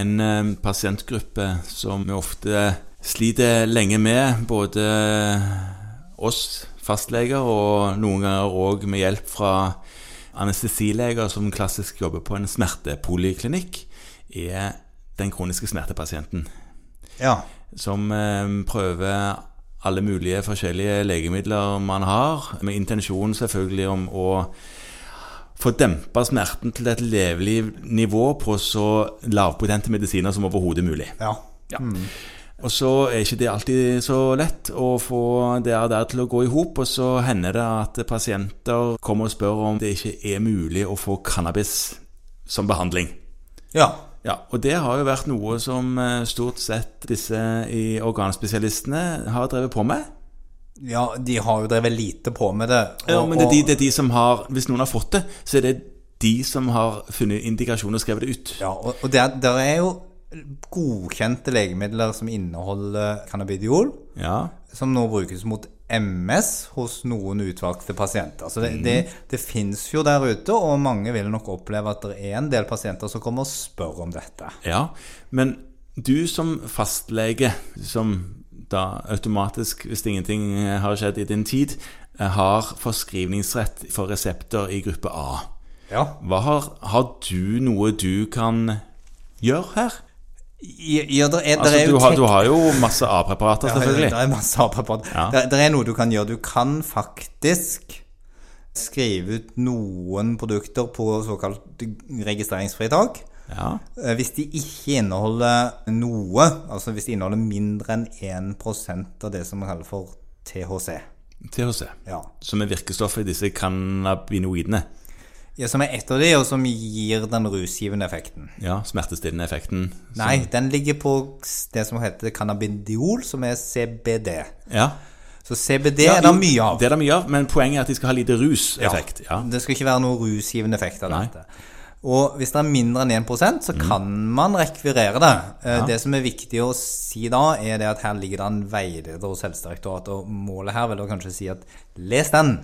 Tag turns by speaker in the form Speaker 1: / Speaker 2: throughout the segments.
Speaker 1: en eh, pasientgruppe som vi ofte sliter lenge med, både oss fastleger og noen ganger òg med hjelp fra anestesileger som klassisk jobber på en smertepoliklinikk, er den kroniske smertepasienten
Speaker 2: Ja.
Speaker 1: som eh, prøver alle mulige forskjellige legemidler man har, med intensjon selvfølgelig om å få dempa smerten til et levelig nivå på så lavpotente medisiner som overhodet mulig.
Speaker 2: ja.
Speaker 1: Og så er ikke det alltid så lett å få det og det til å gå i hop, og så hender det at pasienter kommer og spør om det ikke er mulig å få cannabis som behandling.
Speaker 2: Ja.
Speaker 1: Ja, og det har jo vært noe som eh, stort sett disse i organspesialistene har drevet på med.
Speaker 2: ja, de har jo drevet lite på med det. og-
Speaker 1: Ja, men det er, de,
Speaker 2: og-
Speaker 1: det er de som har Hvis noen har fått det, så er det de som har funnet indikasjon og skrevet det ut.
Speaker 2: Ja, og, og der, der er jo godkjente legemidler som inneholder cannabidiol,
Speaker 1: Ja,
Speaker 2: som nå brukes mot MS hos noen utvalgte pasienter. Så
Speaker 1: Mhm.
Speaker 2: det, det, det fins jo der ute, og mange vil nok oppleve at det er en del pasienter som kommer og spør om dette.
Speaker 1: ja. Men du som fastlege, som da automatisk, hvis ingenting eh, har skjedd i din tid, eh, har forskrivningsrett for resepter i gruppe A.
Speaker 2: Ja.
Speaker 1: Hva har, har du noe du kan gjøre her?
Speaker 2: Ja, der er, der
Speaker 1: Altså,
Speaker 2: er jo
Speaker 1: du, har,
Speaker 2: tek-
Speaker 1: du har jo masse A-preparater, selvfølgelig.
Speaker 2: Ja, det er masse apropos.
Speaker 1: Ja.
Speaker 2: Det, det er noe du kan gjøre. Du kan faktisk skrive ut noen produkter på såkalt registreringsfritak.
Speaker 1: Ja.
Speaker 2: Eh, Hvis de ikke inneholder noe, altså hvis de inneholder mindre enn 1 av det som man kaller for THC.
Speaker 1: THC,
Speaker 2: Ja.
Speaker 1: som er virkestoffet i disse cannabinoidene.
Speaker 2: ja. Som er et av de, og som gir den rusgivende effekten.
Speaker 1: Ja, smertestillende effekten.
Speaker 2: Nei, den ligger på det som heter cannabidiol, som er CBD.
Speaker 1: Ja.
Speaker 2: Så CBD er det mye av.
Speaker 1: Det er det mye av, men poenget er at de skal ha lite ruseffekt. Ja.
Speaker 2: Det skal ikke være noen rusgivende effekt av
Speaker 1: Nei. Mm.
Speaker 2: dette. Og hvis det er mindre enn 1 så kan man rekvirere det. Eh, Det som er viktig å si da, er det at her ligger det en veileder hos Helsedirektoratet, og målet her vil da kanskje si at les den.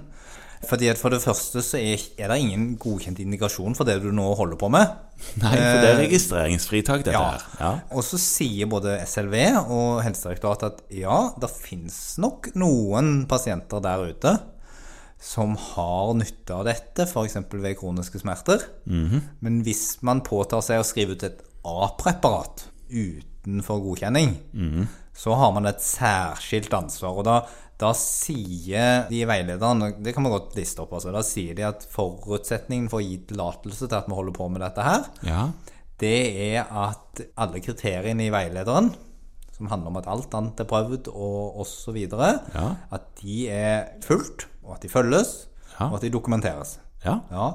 Speaker 2: Fordi at For det første så er er det ingen godkjent indikasjon for det du nå holder på med.
Speaker 1: Nei, for det er registreringsfritak, dette
Speaker 2: Ja.
Speaker 1: her. Eh, Ja.
Speaker 2: Og så sier både SLV og Helsedirektoratet at ja, det finnes nok noen pasienter der ute som har nytte av dette, f.eks. ved kroniske smerter.
Speaker 1: Mhm.
Speaker 2: Men hvis man påtar seg å skrive ut et A-preparat utenfor godkjenning,
Speaker 1: Mhm.
Speaker 2: så har man et særskilt ansvar. Og da, da sier de veilederne Det kan man godt liste opp. Altså, da sier de at forutsetningen for å gi tillatelse til at vi holder på med dette her,
Speaker 1: ja.
Speaker 2: det er at alle kriteriene i veilederen, som handler om at alt annet er prøvd og osv.,
Speaker 1: Ja.
Speaker 2: at de er fulgt, og at de følges,
Speaker 1: Ja.
Speaker 2: og at de dokumenteres.
Speaker 1: Ja.
Speaker 2: Ja.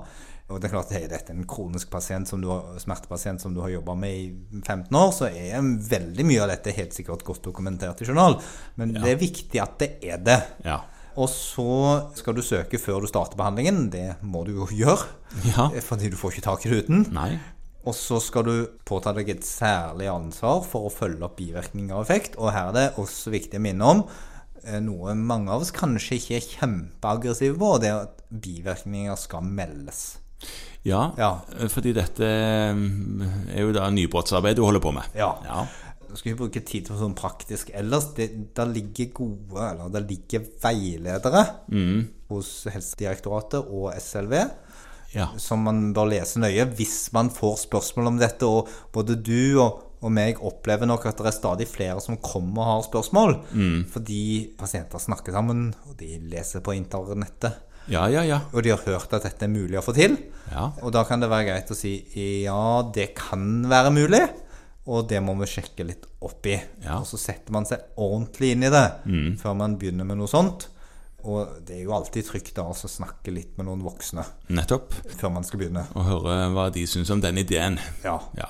Speaker 2: Og det er klart, er dette en kronisk pasient som du har, smertepasient som du har jobba med i 15 år, så er veldig mye av dette helt sikkert godt dokumentert i journal. Men det er viktig at det er det.
Speaker 1: Ja.
Speaker 2: Og så skal du søke før du starter behandlingen. Det må du jo gjøre,
Speaker 1: Ja.
Speaker 2: fordi du får ikke tak i det uten.
Speaker 1: Nei.
Speaker 2: Og så skal du påta deg et særlig ansvar for å følge opp bivirkninger og effekt. Og her er det også viktig å minne om eh, noe mange av oss kanskje ikke er kjempeaggressive på, og det er at bivirkninger skal meldes.
Speaker 1: Ja.
Speaker 2: Ja.
Speaker 1: fordi dette eh, er jo da nybrottsarbeid du holder på med.
Speaker 2: Ja.
Speaker 1: Ja.
Speaker 2: Jeg skal ikke bruke tid på sånn praktisk ellers. Det, der ligger gode, eller der ligger veiledere hos Helsedirektoratet og SLV.
Speaker 1: Ja.
Speaker 2: som man bør lese nøye hvis man får spørsmål om dette. Og både du og, og meg opplever nok at det er stadig flere som kommer og har spørsmål. Fordi pasienter snakker sammen, og de leser på internettet.
Speaker 1: ja, ja, ja.
Speaker 2: Og de har hørt at dette er mulig å få til.
Speaker 1: Ja.
Speaker 2: Og da kan det være greit å si ja, det kan være mulig, og det må vi sjekke litt opp i.
Speaker 1: Ja.
Speaker 2: Og så setter man seg ordentlig inn i det før man begynner med noe sånt. Og det er jo alltid trygt da å snakke litt med noen voksne
Speaker 1: Nettopp.
Speaker 2: før man skal begynne.
Speaker 1: Og høre hva de syns om den ideen.
Speaker 2: Ja.
Speaker 1: Ja.